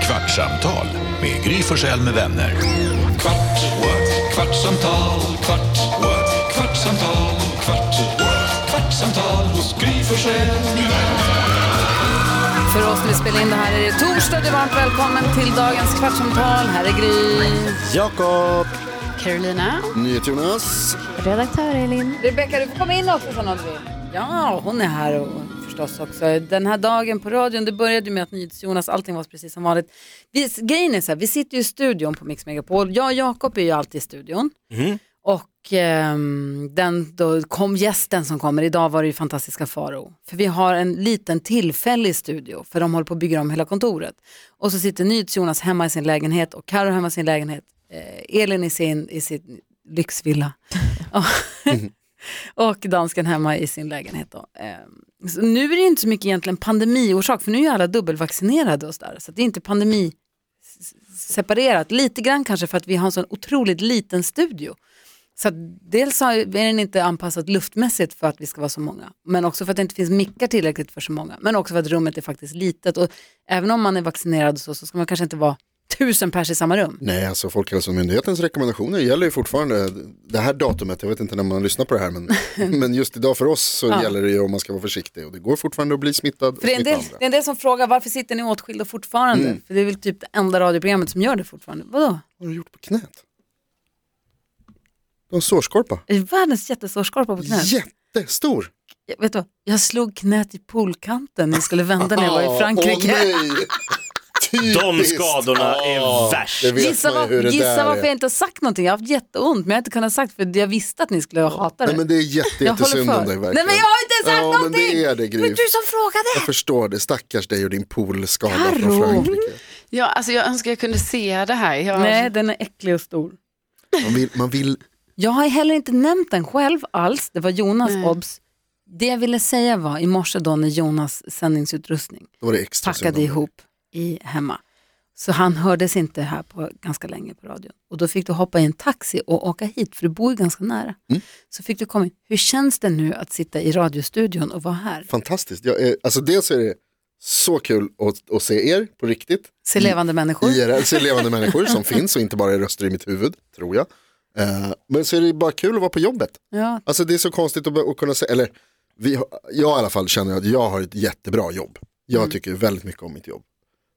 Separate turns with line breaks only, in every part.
Kvartsamtal med Gry Forssell med vänner. Kvart, what? kvartsamtal, kvart, what? kvartsamtal, kvart, what? kvartsamtal hos Gry Forssell med vänner.
För oss när vi spelar in det här är det torsdag. Du är varmt välkommen till dagens Kvartsamtal. Här är Gry.
Jakob.
Carolina.
NyhetsJonas.
Redaktör Elin.
Rebecka, du får komma in också sen om du vill. Ja, hon är här och förstås också. Den här dagen på radion, det började ju med att NyhetsJonas, allting var precis som vanligt. Vi, grejen är så här, vi sitter ju i studion på Mix Megapol. Jag och Jakob är ju alltid i studion. Och ehm, den, då kom gästen som kommer, idag var det ju fantastiska Faro. För vi har en liten tillfällig studio, för de håller på att bygga om hela kontoret. Och så sitter NyhetsJonas hemma i sin lägenhet och Karo hemma i sin lägenhet. Eh, Elin i sin, i sin lyxvilla. Ja. och dansken hemma i sin lägenhet. Då. Ehm, så nu är det inte så mycket egentligen pandemiorsak, för nu är ju alla dubbelvaccinerade och sådär. Så det är inte pandemi separerat, lite grann kanske för att vi har en sån otroligt liten studio. Så att dels har- är den inte anpassad luftmässigt för att vi ska vara så många, men också för att det inte finns mickar tillräckligt för så många, men också för att rummet är faktiskt litet. Och även om man är vaccinerad och så, så ska man kanske inte vara tusen pers i samma rum.
Nej, alltså Folkhälsomyndighetens rekommendationer gäller ju fortfarande det här datumet. Jag vet inte när man lyssnar på det här, men, men just idag för oss så
Ja.
gäller det ju om man ska vara försiktig. Och det går fortfarande att bli smittad och
För det, är en
smitta
del,
andra.
det är en del som frågar varför sitter ni åtskilda fortfarande?
Mm.
För det är väl typ det enda radioprogrammet som gör det fortfarande. Vadå?
Vad har du gjort på knät? Du har en sårskorpa.
Det är världens jättesårskorpa på knät.
Jättestor.
Jag, vet du, jag slog knät i poolkanten när jag skulle vända när jag var i Frankrike.
Åh, nej.
De
Typiskt.
skadorna är värst.
Det vet
Gissa,
man
vad,
ju hur det
gissa
där
varför
är.
jag inte har sagt någonting. Jag har haft jätteont men jag har inte kunnat sagt för jag visste att ni skulle hata det.
Nej men det är jätte,
jag
jättesynd om dig
Nej
verkligen.
men jag har inte sagt
ja,
någonting!
Men det är det
var
Gry.
du som
Jag
frågade!
förstår det, stackars dig och din poolskada
Karo.
från Frankrike.
Ja, alltså jag önskar jag kunde se det här. Jag...
Nej den är äcklig och stor.
Man vill, man vill
Jag har heller inte nämnt den själv alls. Det var Jonas
Nej.
obs. Det jag ville säga var i morse då när Jonas sändningsutrustning
då var det extra synd
packade
om dig.
ihop i hemma. Så han hördes inte här på ganska länge på radion. Och då fick du hoppa i en taxi och åka hit, för du bor ju ganska nära. Så fick du komma in. Hur känns det nu att sitta i radiostudion och vara här?
Fantastiskt. Jag är, alltså dels är det så kul att, att se er på riktigt.
Se levande människor.
IRL, se levande människor som finns och inte bara är röster i mitt huvud, tror jag. Eh, men så är det bara kul att vara på jobbet.
Ja,
Alltså det är så konstigt att, att kunna säga, eller vi, har- jag i alla fall känner att jag har ett jättebra jobb. Jag
Mm.
tycker väldigt mycket om mitt jobb.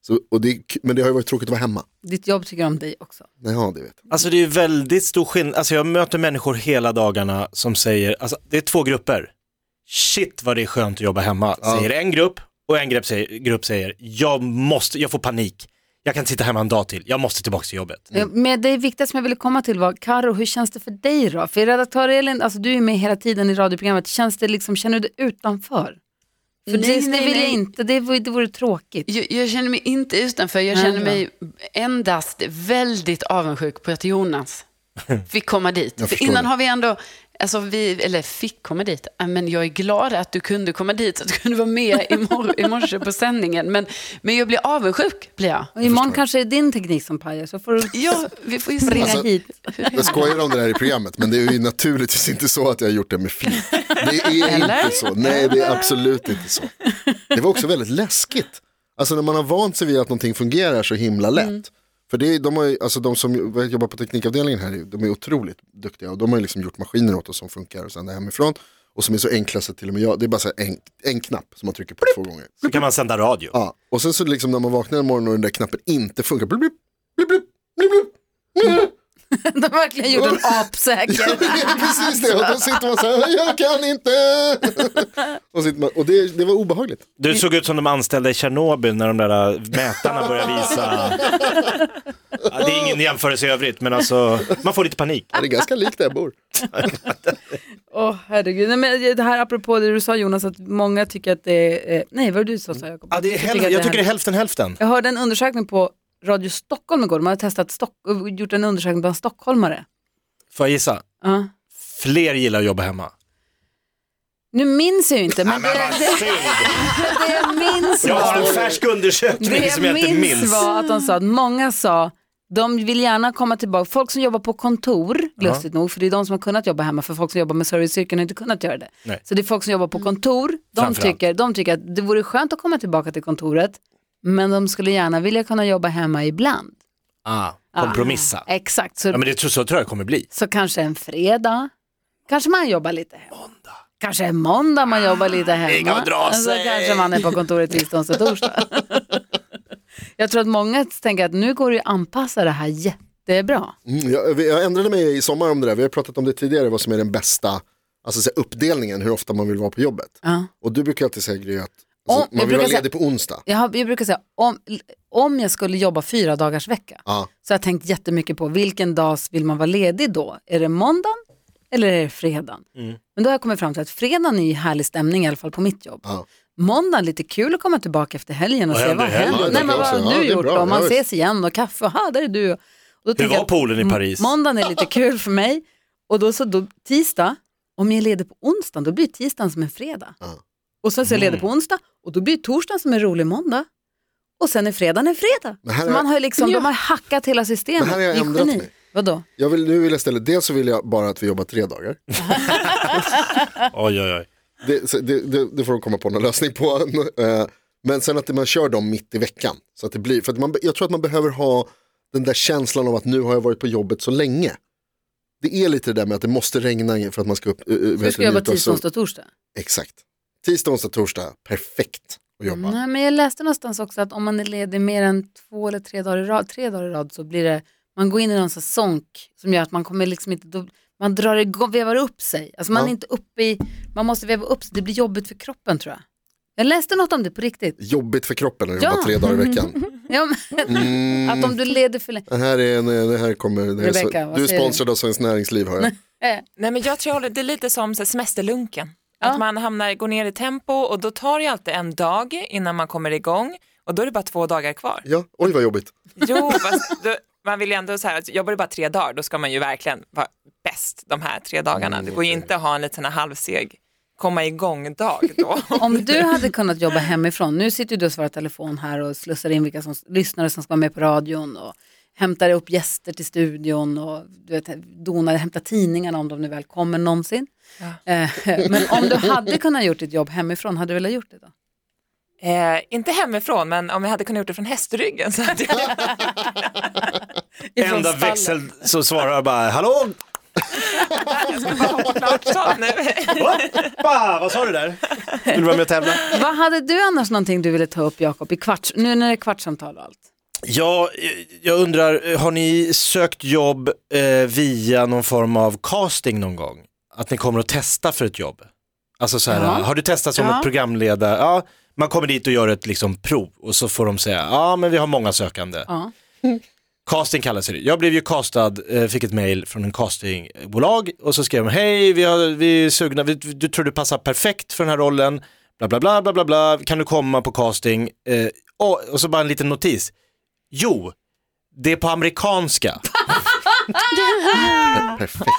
Så, och det, är k- men det har ju varit tråkigt att vara hemma.
ditt jobb tycker om dig också.
Ja, det vet jag.
Alltså det är väldigt stor skillnad, alltså jag möter människor hela dagarna som säger, alltså det är två grupper. Shit vad det är skönt att jobba hemma,
Ja.
säger en grupp och en grupp säger, grupp säger jag måste, jag får panik, jag kan inte sitta hemma en dag till, jag måste tillbaka till jobbet.
Ja, Eh, Men det viktigaste som jag ville komma till var, Karo, hur känns det för dig då? För redaktör Elin, alltså du är med hela tiden i radioprogrammet, känns det liksom, känner du dig utanför? För
Nej,
det,
nej,
det vill jag
nej.
inte, det vore, det vore tråkigt.
Jag, jag känner mig inte utanför. Jag
Nej,
känner
bra.
mig endast väldigt avundsjuk på att Jonas fick komma dit.
Jag
För
förstår
innan
det.
har vi ändå, alltså vi, eller fick komma dit, Äh, men jag är glad att du kunde komma dit så att du kunde vara med i, mor- i morse på sändningen. Men, men jag blir avundsjuk, blir jag.
Och imorgon kanske det är din teknik som pajar, så får du
Ja, vi får ju se.
springa
Alltså,
hit.
Jag skojar om det här i programmet, men det är ju naturligtvis inte så att jag har gjort det med flit. Det är
Eller?
inte så. Nej, det är absolut inte så. Det var också väldigt läskigt. Alltså när man har vant sig vid att någonting fungerar så himla lätt.
Mm.
För det är, de, har ju, alltså de som ju- jobbar på teknikavdelningen här, de är otroligt duktiga och de har ju liksom gjort maskiner åt oss som funkar och sen hemifrån. Och som är så enkla så till och med jag, det är bara så här en, en knapp som man trycker på två gånger.
Så kan man sända radio.
Ja, och sen så liksom när man vaknar en morgon och den där knappen inte funkar, blip, blip, blip, blip, blip, blip.
De har verkligen gjort en apsäker.
Det är precis det, och då sitter man så här, jag kan inte. Och, sitter man, och det, det var obehagligt.
Du såg ut som de anställda i Tjernobyl när de där äh, mätarna började visa. Ja, det är ingen jämförelse i övrigt, men alltså man får lite panik.
Det är ganska likt där jag bor.
Åh herregud, nej, men eh, det här apropå det du sa Jonas, att många tycker att det är, eh, nej vad var det du sa, sa Jakob?
Ja, det är
att
hälften, jag tycker det är
härligt.
hälften hälften.
Jag hörde en undersökning på Radio Stockholm igår, de hade testat Stock- gjort en undersökning bland stockholmare.
Får jag gissa?
Ja.
Fler gillar att jobba hemma.
Nu minns jag ju inte, men det, det, det jag minns
alltså. Jag har
var,
en färsk undersökning
det
som jag
jag
inte
minns
minns.
var att de sa att många sa de vill gärna komma tillbaka, folk som jobbar på kontor, lustigt nog, för det är de som har kunnat jobba hemma, för folk som jobbar med serviceyrken har inte kunnat göra det.
Nej.
Så det är folk som jobbar på kontor, de
Framförallt.
tycker, de tycker att det vore skönt att komma tillbaka till kontoret, men de skulle gärna vilja kunna jobba hemma ibland.
Ah, kompromissa.
Exakt, så,
Ja, men det tror, så tror jag det kommer bli.
så kanske en fredag, kanske man jobbar lite hemma. Kanske en måndag man jobbar lite hemma.
Ah, inga att dra
så
sig.
kanske man är på kontoret tisdags och torsdag. jag tror att många tänker att nu går det ju att anpassa det här jättebra.
Mm, jag, jag ändrade mig i sommar om det där, vi har pratat om det tidigare, vad som är den bästa alltså, så här, uppdelningen, hur ofta man vill vara på jobbet.
Ja.
Och du brukar alltid säga Gry att alltså,
Om- jag
man vill vara
brukar säga-
ledig på onsdag.
Jag, har, jag brukar säga, om, om jag skulle jobba fyra dagars vecka,
Ja.
så har jag tänkt jättemycket på vilken dag vill man vara ledig då? Är det måndagen eller är det fredagen? Men då har jag kommit fram till att fredagen är ju härlig stämning i alla fall på mitt jobb.
Ja.
Måndagen lite kul att komma tillbaka efter helgen och
Vad
se
hände
vad
i helgen?
händer.
Ja, det
Nej,
kan
men
jag
vad
säga.
har
Ja,
du
det är
gjort
bra.
då? Man
Ja,
ses igen och kaffe, aha, där är du. Och då
Hur
tänker
var
jag,
poolen i Paris?
Måndagen är lite kul för mig och då så då, tisdag, om jag är ledig på onsdagen då blir tisdagen som en fredag.
Ja.
Och sen så är jag
Mm.
ledig på onsdag och då blir torsdagen som en rolig måndag. Och sen är fredagen en fredag.
Men här
Så
har-
man har ju liksom, de har hackat hela systemet.
Men här har jag
Det är
ändrat
geni.
mig.
Vadå?
Jag vill, nu vill jag istället, dels så vill jag bara att vi jobbar tre dagar.
Oj, oj, oj.
Det, så det, det, det får de komma på någon lösning på. Eh, Men sen att man kör dem mitt i veckan. Så att det blir, för att man, jag tror att man behöver ha den där känslan av att nu har jag varit på jobbet så länge. Det är lite det där med att det måste regna för att man ska upp. eh, eh,
Du
vet
ska jobba
njuta av
tisdag,
sol.
onsdag och torsdag.
Exakt. Tisdag, onsdag, torsdag, perfekt att jobba.
Nej, men jag läste någonstans också att om man är ledig mer än två eller tre dagar i rad, tre dagar i rad så blir det, man går in i någon sån sonk som gör att man kommer liksom inte, då, man drar igång, vevar upp sig. Alltså man
Ja.
är inte uppe i, man måste veva upp sig, det blir jobbigt för kroppen tror jag. Jag läste något om det på riktigt.
Jobbigt för kroppen att
Ja.
jobba tre dagar i veckan.
Ja, men,
Mhm. Mm.
att om du leder för länge,
Det här, är en, det här kommer, det här är så,
Rebecca, vad
du är
säger du?
sponsrad av Svenskt Näringsliv hör jag.
Nej men jag tror jag håller- det är lite som så här, semesterlunken.
Ja.
Att man hamnar, går ner i tempo och då tar det alltid en dag innan man kommer igång och då är det bara två dagar kvar.
Ja, oj vad jobbigt.
Jo, fast då, man vill ju ändå så här, alltså, jobbar du bara tre dagar då ska man ju verkligen vara bäst de här tre dagarna.
Mm,
Det går ju inte att ha en liten halvseg komma igång-dag då.
om du hade kunnat jobba hemifrån, nu sitter ju du och svarar telefon här och slussar in vilka som, lyssnare som ska vara med på radion och hämtar upp gäster till studion och du vet, donar, hämtar tidningarna om de nu väl kommer någonsin. Eh, Men om du hade kunnat gjort ditt jobb hemifrån, hade du velat gjort det då?
Eh, inte hemifrån, men om jag hade kunnat gjort det från hästryggen så hade jag
Ifrån
Enda
stallet.
växel så svarar jag bara, hallå,
jag ska bara hoppa klart så nu.
hoppa, vad sa du där? Vill du vara med och tävla?
Vad hade du annars någonting du ville ta upp Jakob i kvarts, nu när det är kvartssamtal och allt?
Ja, eh, jag undrar, eh, har ni sökt jobb eh, via någon form av casting någon gång? Att ni kommer att testa för ett jobb? Alltså så här,
Ja.
har du testat som
Ja.
programledare? Ja, man kommer dit och gör ett liksom prov och så får de säga, ja men vi har många sökande.
Ja.
Casting kallas det. Jag blev ju castad, eh, fick ett mail från en castingbolag och så skrev de hej, vi, har, vi är sugna, vi, du tror du passar perfekt för den här rollen, bla bla bla bla bla, bla. kan du komma på casting? Eh, och, och så bara en liten notis. Jo, det är på amerikanska.
Perfekt.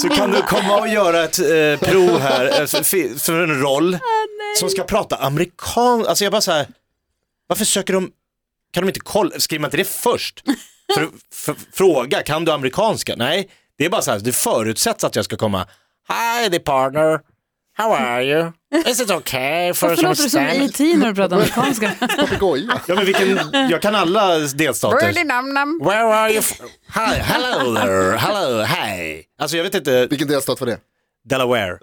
Så kan du komma och göra ett eh, prov här eh, för- för, för en roll som ska prata amerikan. Alltså jag bara så här, varför söker de, kan de inte kolla, skriver man inte det först? För, för, fråga, kan du amerikanska? Nej, det är bara så här, det förutsätts att jag ska komma, hi the partner, how are you? Is it okay for
Varför
some
låter du som
stand?
E.T. när du pratar amerikanska?
Papegoja.
Ja men vilken, jag kan alla delstater.
Nam-nam.
Where are you? f- Hi, hello there, hello, hi. Alltså jag vet inte,
Vilken delstat var det?
Delaware.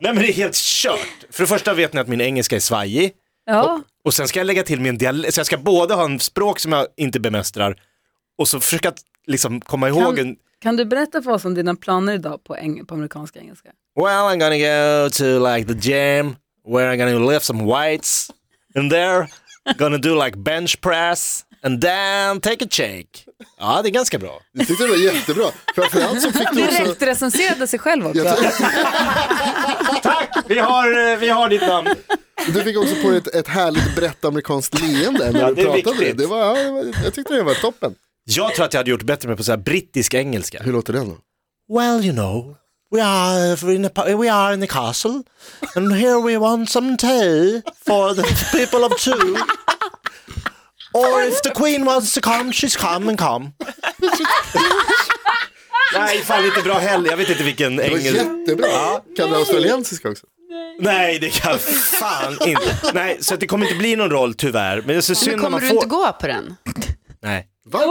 Nej men det är helt kört. För det första vet ni att min engelska är svajig.
Ja,
Och sen ska jag lägga till min dialekt, så jag ska både ha en språk som jag inte bemästrar och så försöka att liksom komma ihåg en...
kan du berätta för oss om dina planer idag på, eng- på amerikanska engelska?
Well I'm gonna go to like the gym where I'm gonna lift some weights and there gonna do like bench press and then take a shake. Ja det är ganska bra.
Jag tyckte det var jättebra. Framförallt så fick du också...
Direkt recenserade sig själv också.
Jag
Tack! Vi har, eh, vi har ditt namn.
Du fick också på dig ett, ett härligt brett amerikanskt leende när
Ja,
du
det är
pratade. Det.
viktigt.
Det var, ja, det var- jag tyckte det var toppen.
Jag tror att jag hade gjort bättre med på så här brittisk engelska.
Hur låter den då?
Well, you know, we are in a, we are in the castle, and here we want some tea for the people of two. Or if the queen wants to come, she's come and come. Nej, fan inte bra heller. Jag vet inte vilken
Det var
engelsk.
jättebra. Kan du australiensiska också?
Nej, det kan fan inte. Nej, så att det kommer inte bli någon roll tyvärr. Men det är så synd
Men
när
kommer
man
du
får...
inte gå på den?
Nej.
Gå, gå,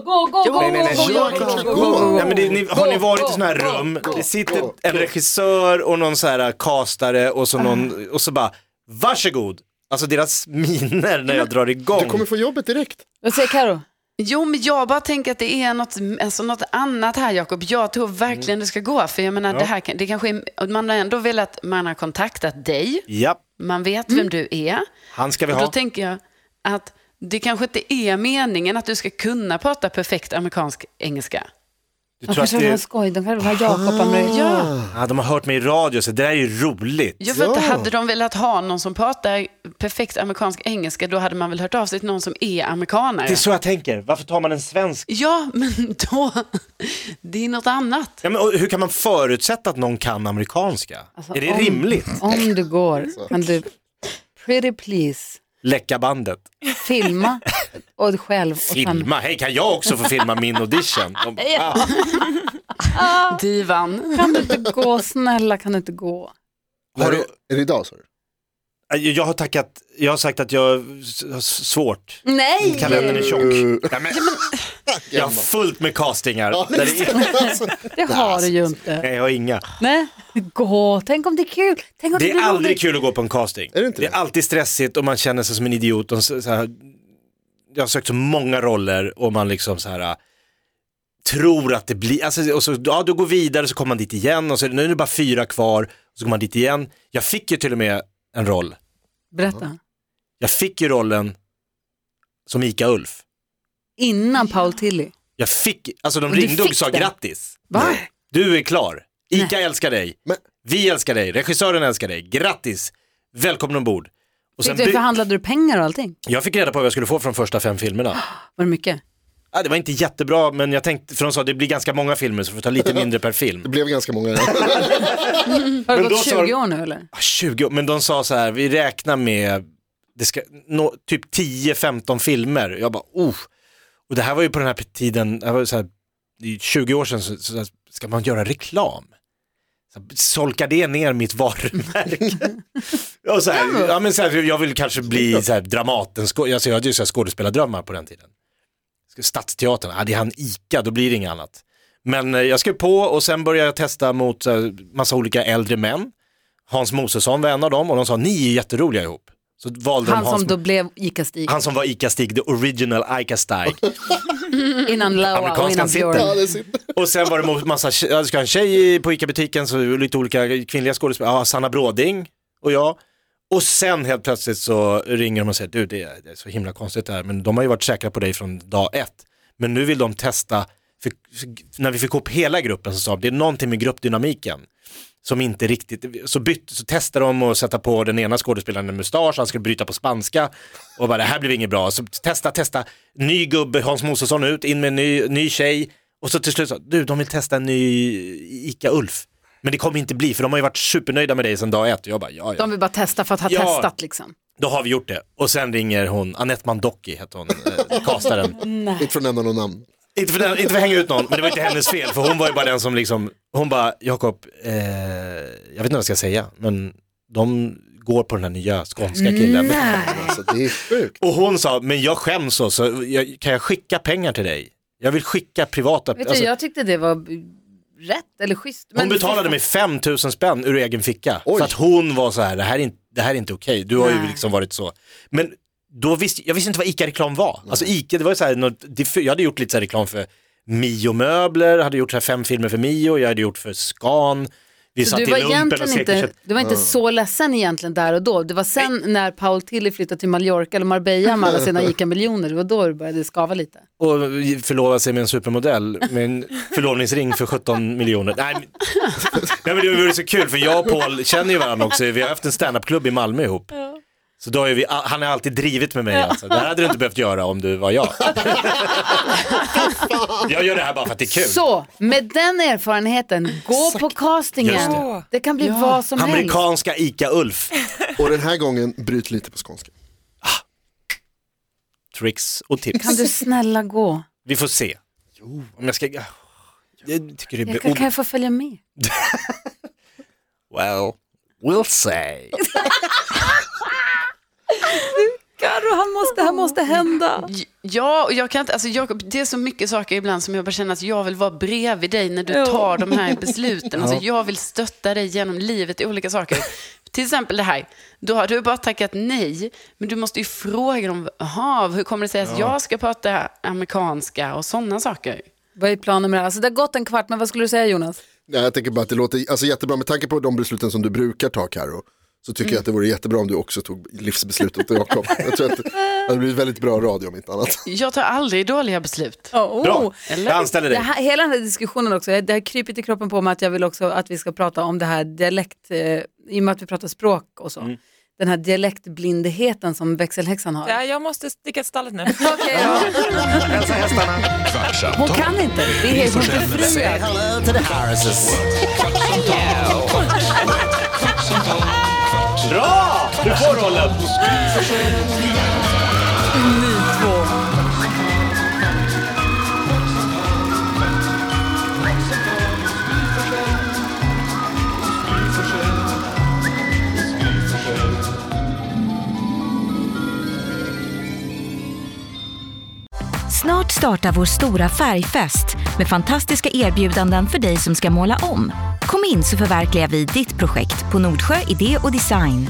gå, gå, gå,
Nej, nej, nej.
gå,
Ja,
gå,
klart.
gå,
Gå.
gå, gå.
Ja, men det, ni, har ni varit i sådana här
gå,
rum,
gå,
det sitter
gå, Ah.
en regissör och någon så här kastare och så, någon, och så bara, varsågod. Alltså deras miner när jag drar igång.
Du kommer få jobbet direkt.
Vad säger Karo?
Jo, men jag bara tänker att det är något, alltså något annat här, Jakob. Jag tror verkligen
Mm.
det ska gå. För jag menar, det här kan- det kanske är, man har ändå velat, man har kontaktat dig,
Ja,
man vet
Mm.
vem du är.
han ska vi
Och då
ha.
tänker jag att det kanske inte är meningen att du ska kunna prata perfekt amerikansk engelska.
Du
De
tror att
kanske vill ha
det,
skoj, de kanske vill ha Jakob Amerik.
Ja,
ah, de har hört mig i radio, så det där är ju roligt.
jag för att hade de velat ha någon som pratar perfekt amerikansk engelska, då hade man väl hört av sig till någon som är amerikanare.
Det är så jag tänker, varför tar man en svensk?
Ja, men då, det är något annat.
Ja, men, och hur kan man förutsätta att någon kan amerikanska?
Alltså,
är det
om-
rimligt?
Om du går, men du, pretty please,
Läcka bandet.
filma och själv. Och sen,
Filma, hej kan jag också få filma min audition? De, ah,
Divan.
kan du inte gå, snälla kan du inte gå?
har du,
Är det idag sa du?
"Ah." jag har tackat, jag har sagt att jag har s- svårt.
Nej!
Kalendern är tjock.
Uh,
Nej, men, jag har fullt med castingar. Där det är,
alltså,
Det har du ju inte.
nej, jag har inga.
Nej, gå, tänk om det är kul. Tänk om det,
Det
blir
är aldrig
roligt.
kul att gå på en casting.
Är det inte
det är
det?
alltid stressigt och man känner sig som en idiot. Och så, så här, jag har sökt så många roller och man liksom så här äh, tror att det blir, alltså, och så, ja du går vidare så kommer man dit igen och så nu är det bara fyra kvar och så går man dit igen. Jag fick ju till och med en roll.
Berätta.
Jag fick ju rollen som Ica-Ulf.
Innan Paul Tilly.
Jag fick, alltså de
Och du
ringde och
fick
sa
den?
grattis.
Va?
Du är klar. Ica älskar dig.
Men-
Vi älskar dig. Regissören älskar dig. Grattis. Välkommen ombord. Och
Fick
sen
du,
by-
förhandlade du pengar och allting?
jag fick reda på vad jag skulle få från första fem filmerna.
Var det mycket?
Ja, det var inte jättebra, men jag tänkte, för de sa det blir ganska många filmer så du får ta lite mindre per
det
film.
blev ganska många.
Har det
Men
gått
då sa
20 år nu eller?
Ah, 20, år. men de sa så här, vi räknar med det ska, nå, typ 10-15 filmer. Jag bara, oh. Och det här var ju på den här tiden, det här var ju så här, det är 20 år sedan, så, så här, ska man göra reklam? Så här, solkar det ner mitt varumärke? Och så här, ja, men så här, jag vill kanske bli så här, Dramaten, skå- alltså, jag hade ju så här, skådespelardrömmar på den tiden. Ska- Stadsteatern, ja, det är han ICA, då blir det inget annat. Men eh, jag skrev på och sen började jag testa mot eh, massa olika äldre män. Hans Mosesson var en av dem och de sa ni är jätteroliga ihop. Så valde
Han
de Hans
som då blev Ica-Stig
han som var Ica-Stig, the original Ica-Stig.
innan Loa och
Amerikanskan
innan
sitter.
ja,
Björn.
det sitter.
Och sen var det mot massa, tje- ja, det ska ha en tjej i- på Ica-butiken, så lite olika kvinnliga skådespelare, ja, Sanna Bråding och jag. Och sen helt plötsligt så ringer de och säger, du det är, det är så himla konstigt det här, men de har ju varit säkra på dig från dag ett. Men nu vill de testa, för, för, när vi fick ihop hela gruppen så sa de, det är någonting med gruppdynamiken som inte riktigt, så, bytte, så testade de att sätta på den ena skådespelaren en mustasch, han skulle bryta på spanska och bara det här blev inget bra. Så testa, testa, ny gubbe, Hans Mosesson ut, in med en ny, ny tjej och så till slut sa du, de vill testa en ny Ica-Ulf. Men det kommer inte bli, för de har ju varit supernöjda med dig sedan dag ett. Och jag bara, ja, ja.
De vill bara testa för att ha
Ja.
testat liksom.
Då har vi gjort det. Och sen ringer hon, Anette Mandocki hette hon, eh, kastaren.
Inte för att nämna något namn.
Inte för, den, inte för att hänga ut någon, men det var inte hennes fel, för hon var ju bara den som liksom, hon bara, Jakob, eh, jag vet inte vad jag ska säga, men de går på den här nya skånska
Mm.
killen.
Alltså, det är sjukt.
Och hon sa, men jag skäms så, så jag, kan jag skicka pengar till dig? Jag vill skicka privata,
Vet
alltså,
du, jag tyckte det var b- rätt eller schysst.
hon betalade mig 5 000 spänn ur egen ficka.
Oj.
För att hon var så här, det här är inte, det här är inte okej, du har ju
Nej.
liksom varit så. Men då visste, jag visste inte vad ICA-reklam var. Alltså ICA, det var ju så här, något, diff- jag hade gjort lite så här reklam för Mio möbler, hade gjort så här fem filmer för Mio, jag hade gjort för Scan. Vi
Så
satt
du
i
var
lumpen och
egentligen inte,
sekerkött.
du var inte så ledsen egentligen där och då. Det var sen när Paul Tilly flyttade till Mallorca eller Marbella med alla sina ICA-miljoner, det var då du började skava lite.
Och förlova sig med en supermodell med en förlovningsring för 17 miljoner. Nej, men, nej, men det var ju så kul för jag och Paul känner ju varandra också. Vi har haft en standupklubb i Malmö ihop. Så då har ju vi, han har alltid drivit med mig. Alltså. Det här hade du inte behövt göra om du var jag. jag gör det här bara för att det är kul.
Så, med den erfarenheten, gå på castingen.
Just
Det.
det.
kan bli vad som helst.
Amerikanska ICA-Ulf.
Och den här gången, bryt lite på skånska.
Tricks och tips.
Kan du snälla gå?
Vi får se. Om jag ska... Jag tycker det
Jag
blir...
kan, kan
ob-
jag få följa med?
Well, We'll say.
Karo, han måste, det här måste hända.
J- Ja, och jag kan inte, alltså Jakob, det är så mycket saker ibland som jag bara känner att jag vill vara bredvid dig när du
Jo.
tar de här besluten. Alltså, jag vill stötta dig genom livet i olika saker. Till exempel det här, då har du bara tackat nej, men du måste ju fråga dem, jaha, hur kommer det sig att jag ska prata amerikanska och sådana saker?
Vad är planen med det här? Alltså, det har gått en kvart, men vad skulle du säga Jonas?
Nej, jag tänker bara att det låter alltså, jättebra. Med tanke på de besluten som du brukar ta Karo så tycker jag att det vore jättebra om du också tog livsbeslutet åt Jakob. Jag tror att det hade blivit väldigt bra radio om inte annat.
Jag tar aldrig dåliga beslut.
Oh, oh.
Bra, jag anställer
Det
dig.
här, hela den här diskussionen också, det har krypit i kroppen på mig att jag vill också att vi ska prata om det här dialekt, eh, i och med att vi pratar språk och så.
Mm.
Den här dialektblindheten som växelhäxan har.
Ja, jag måste sticka till stallet nu.
Okej, ja. Hon
Kvartsamtal,
kan inte, det är, hon är befriad.
Hello to the houses.
kvartsamtal, kvart,
Bra! Du får rollen.
Snart startar vår stora färgfest med fantastiska erbjudanden för dig som ska måla om. Kom in så förverkligar vi ditt projekt på Nordsjö Idé och Design.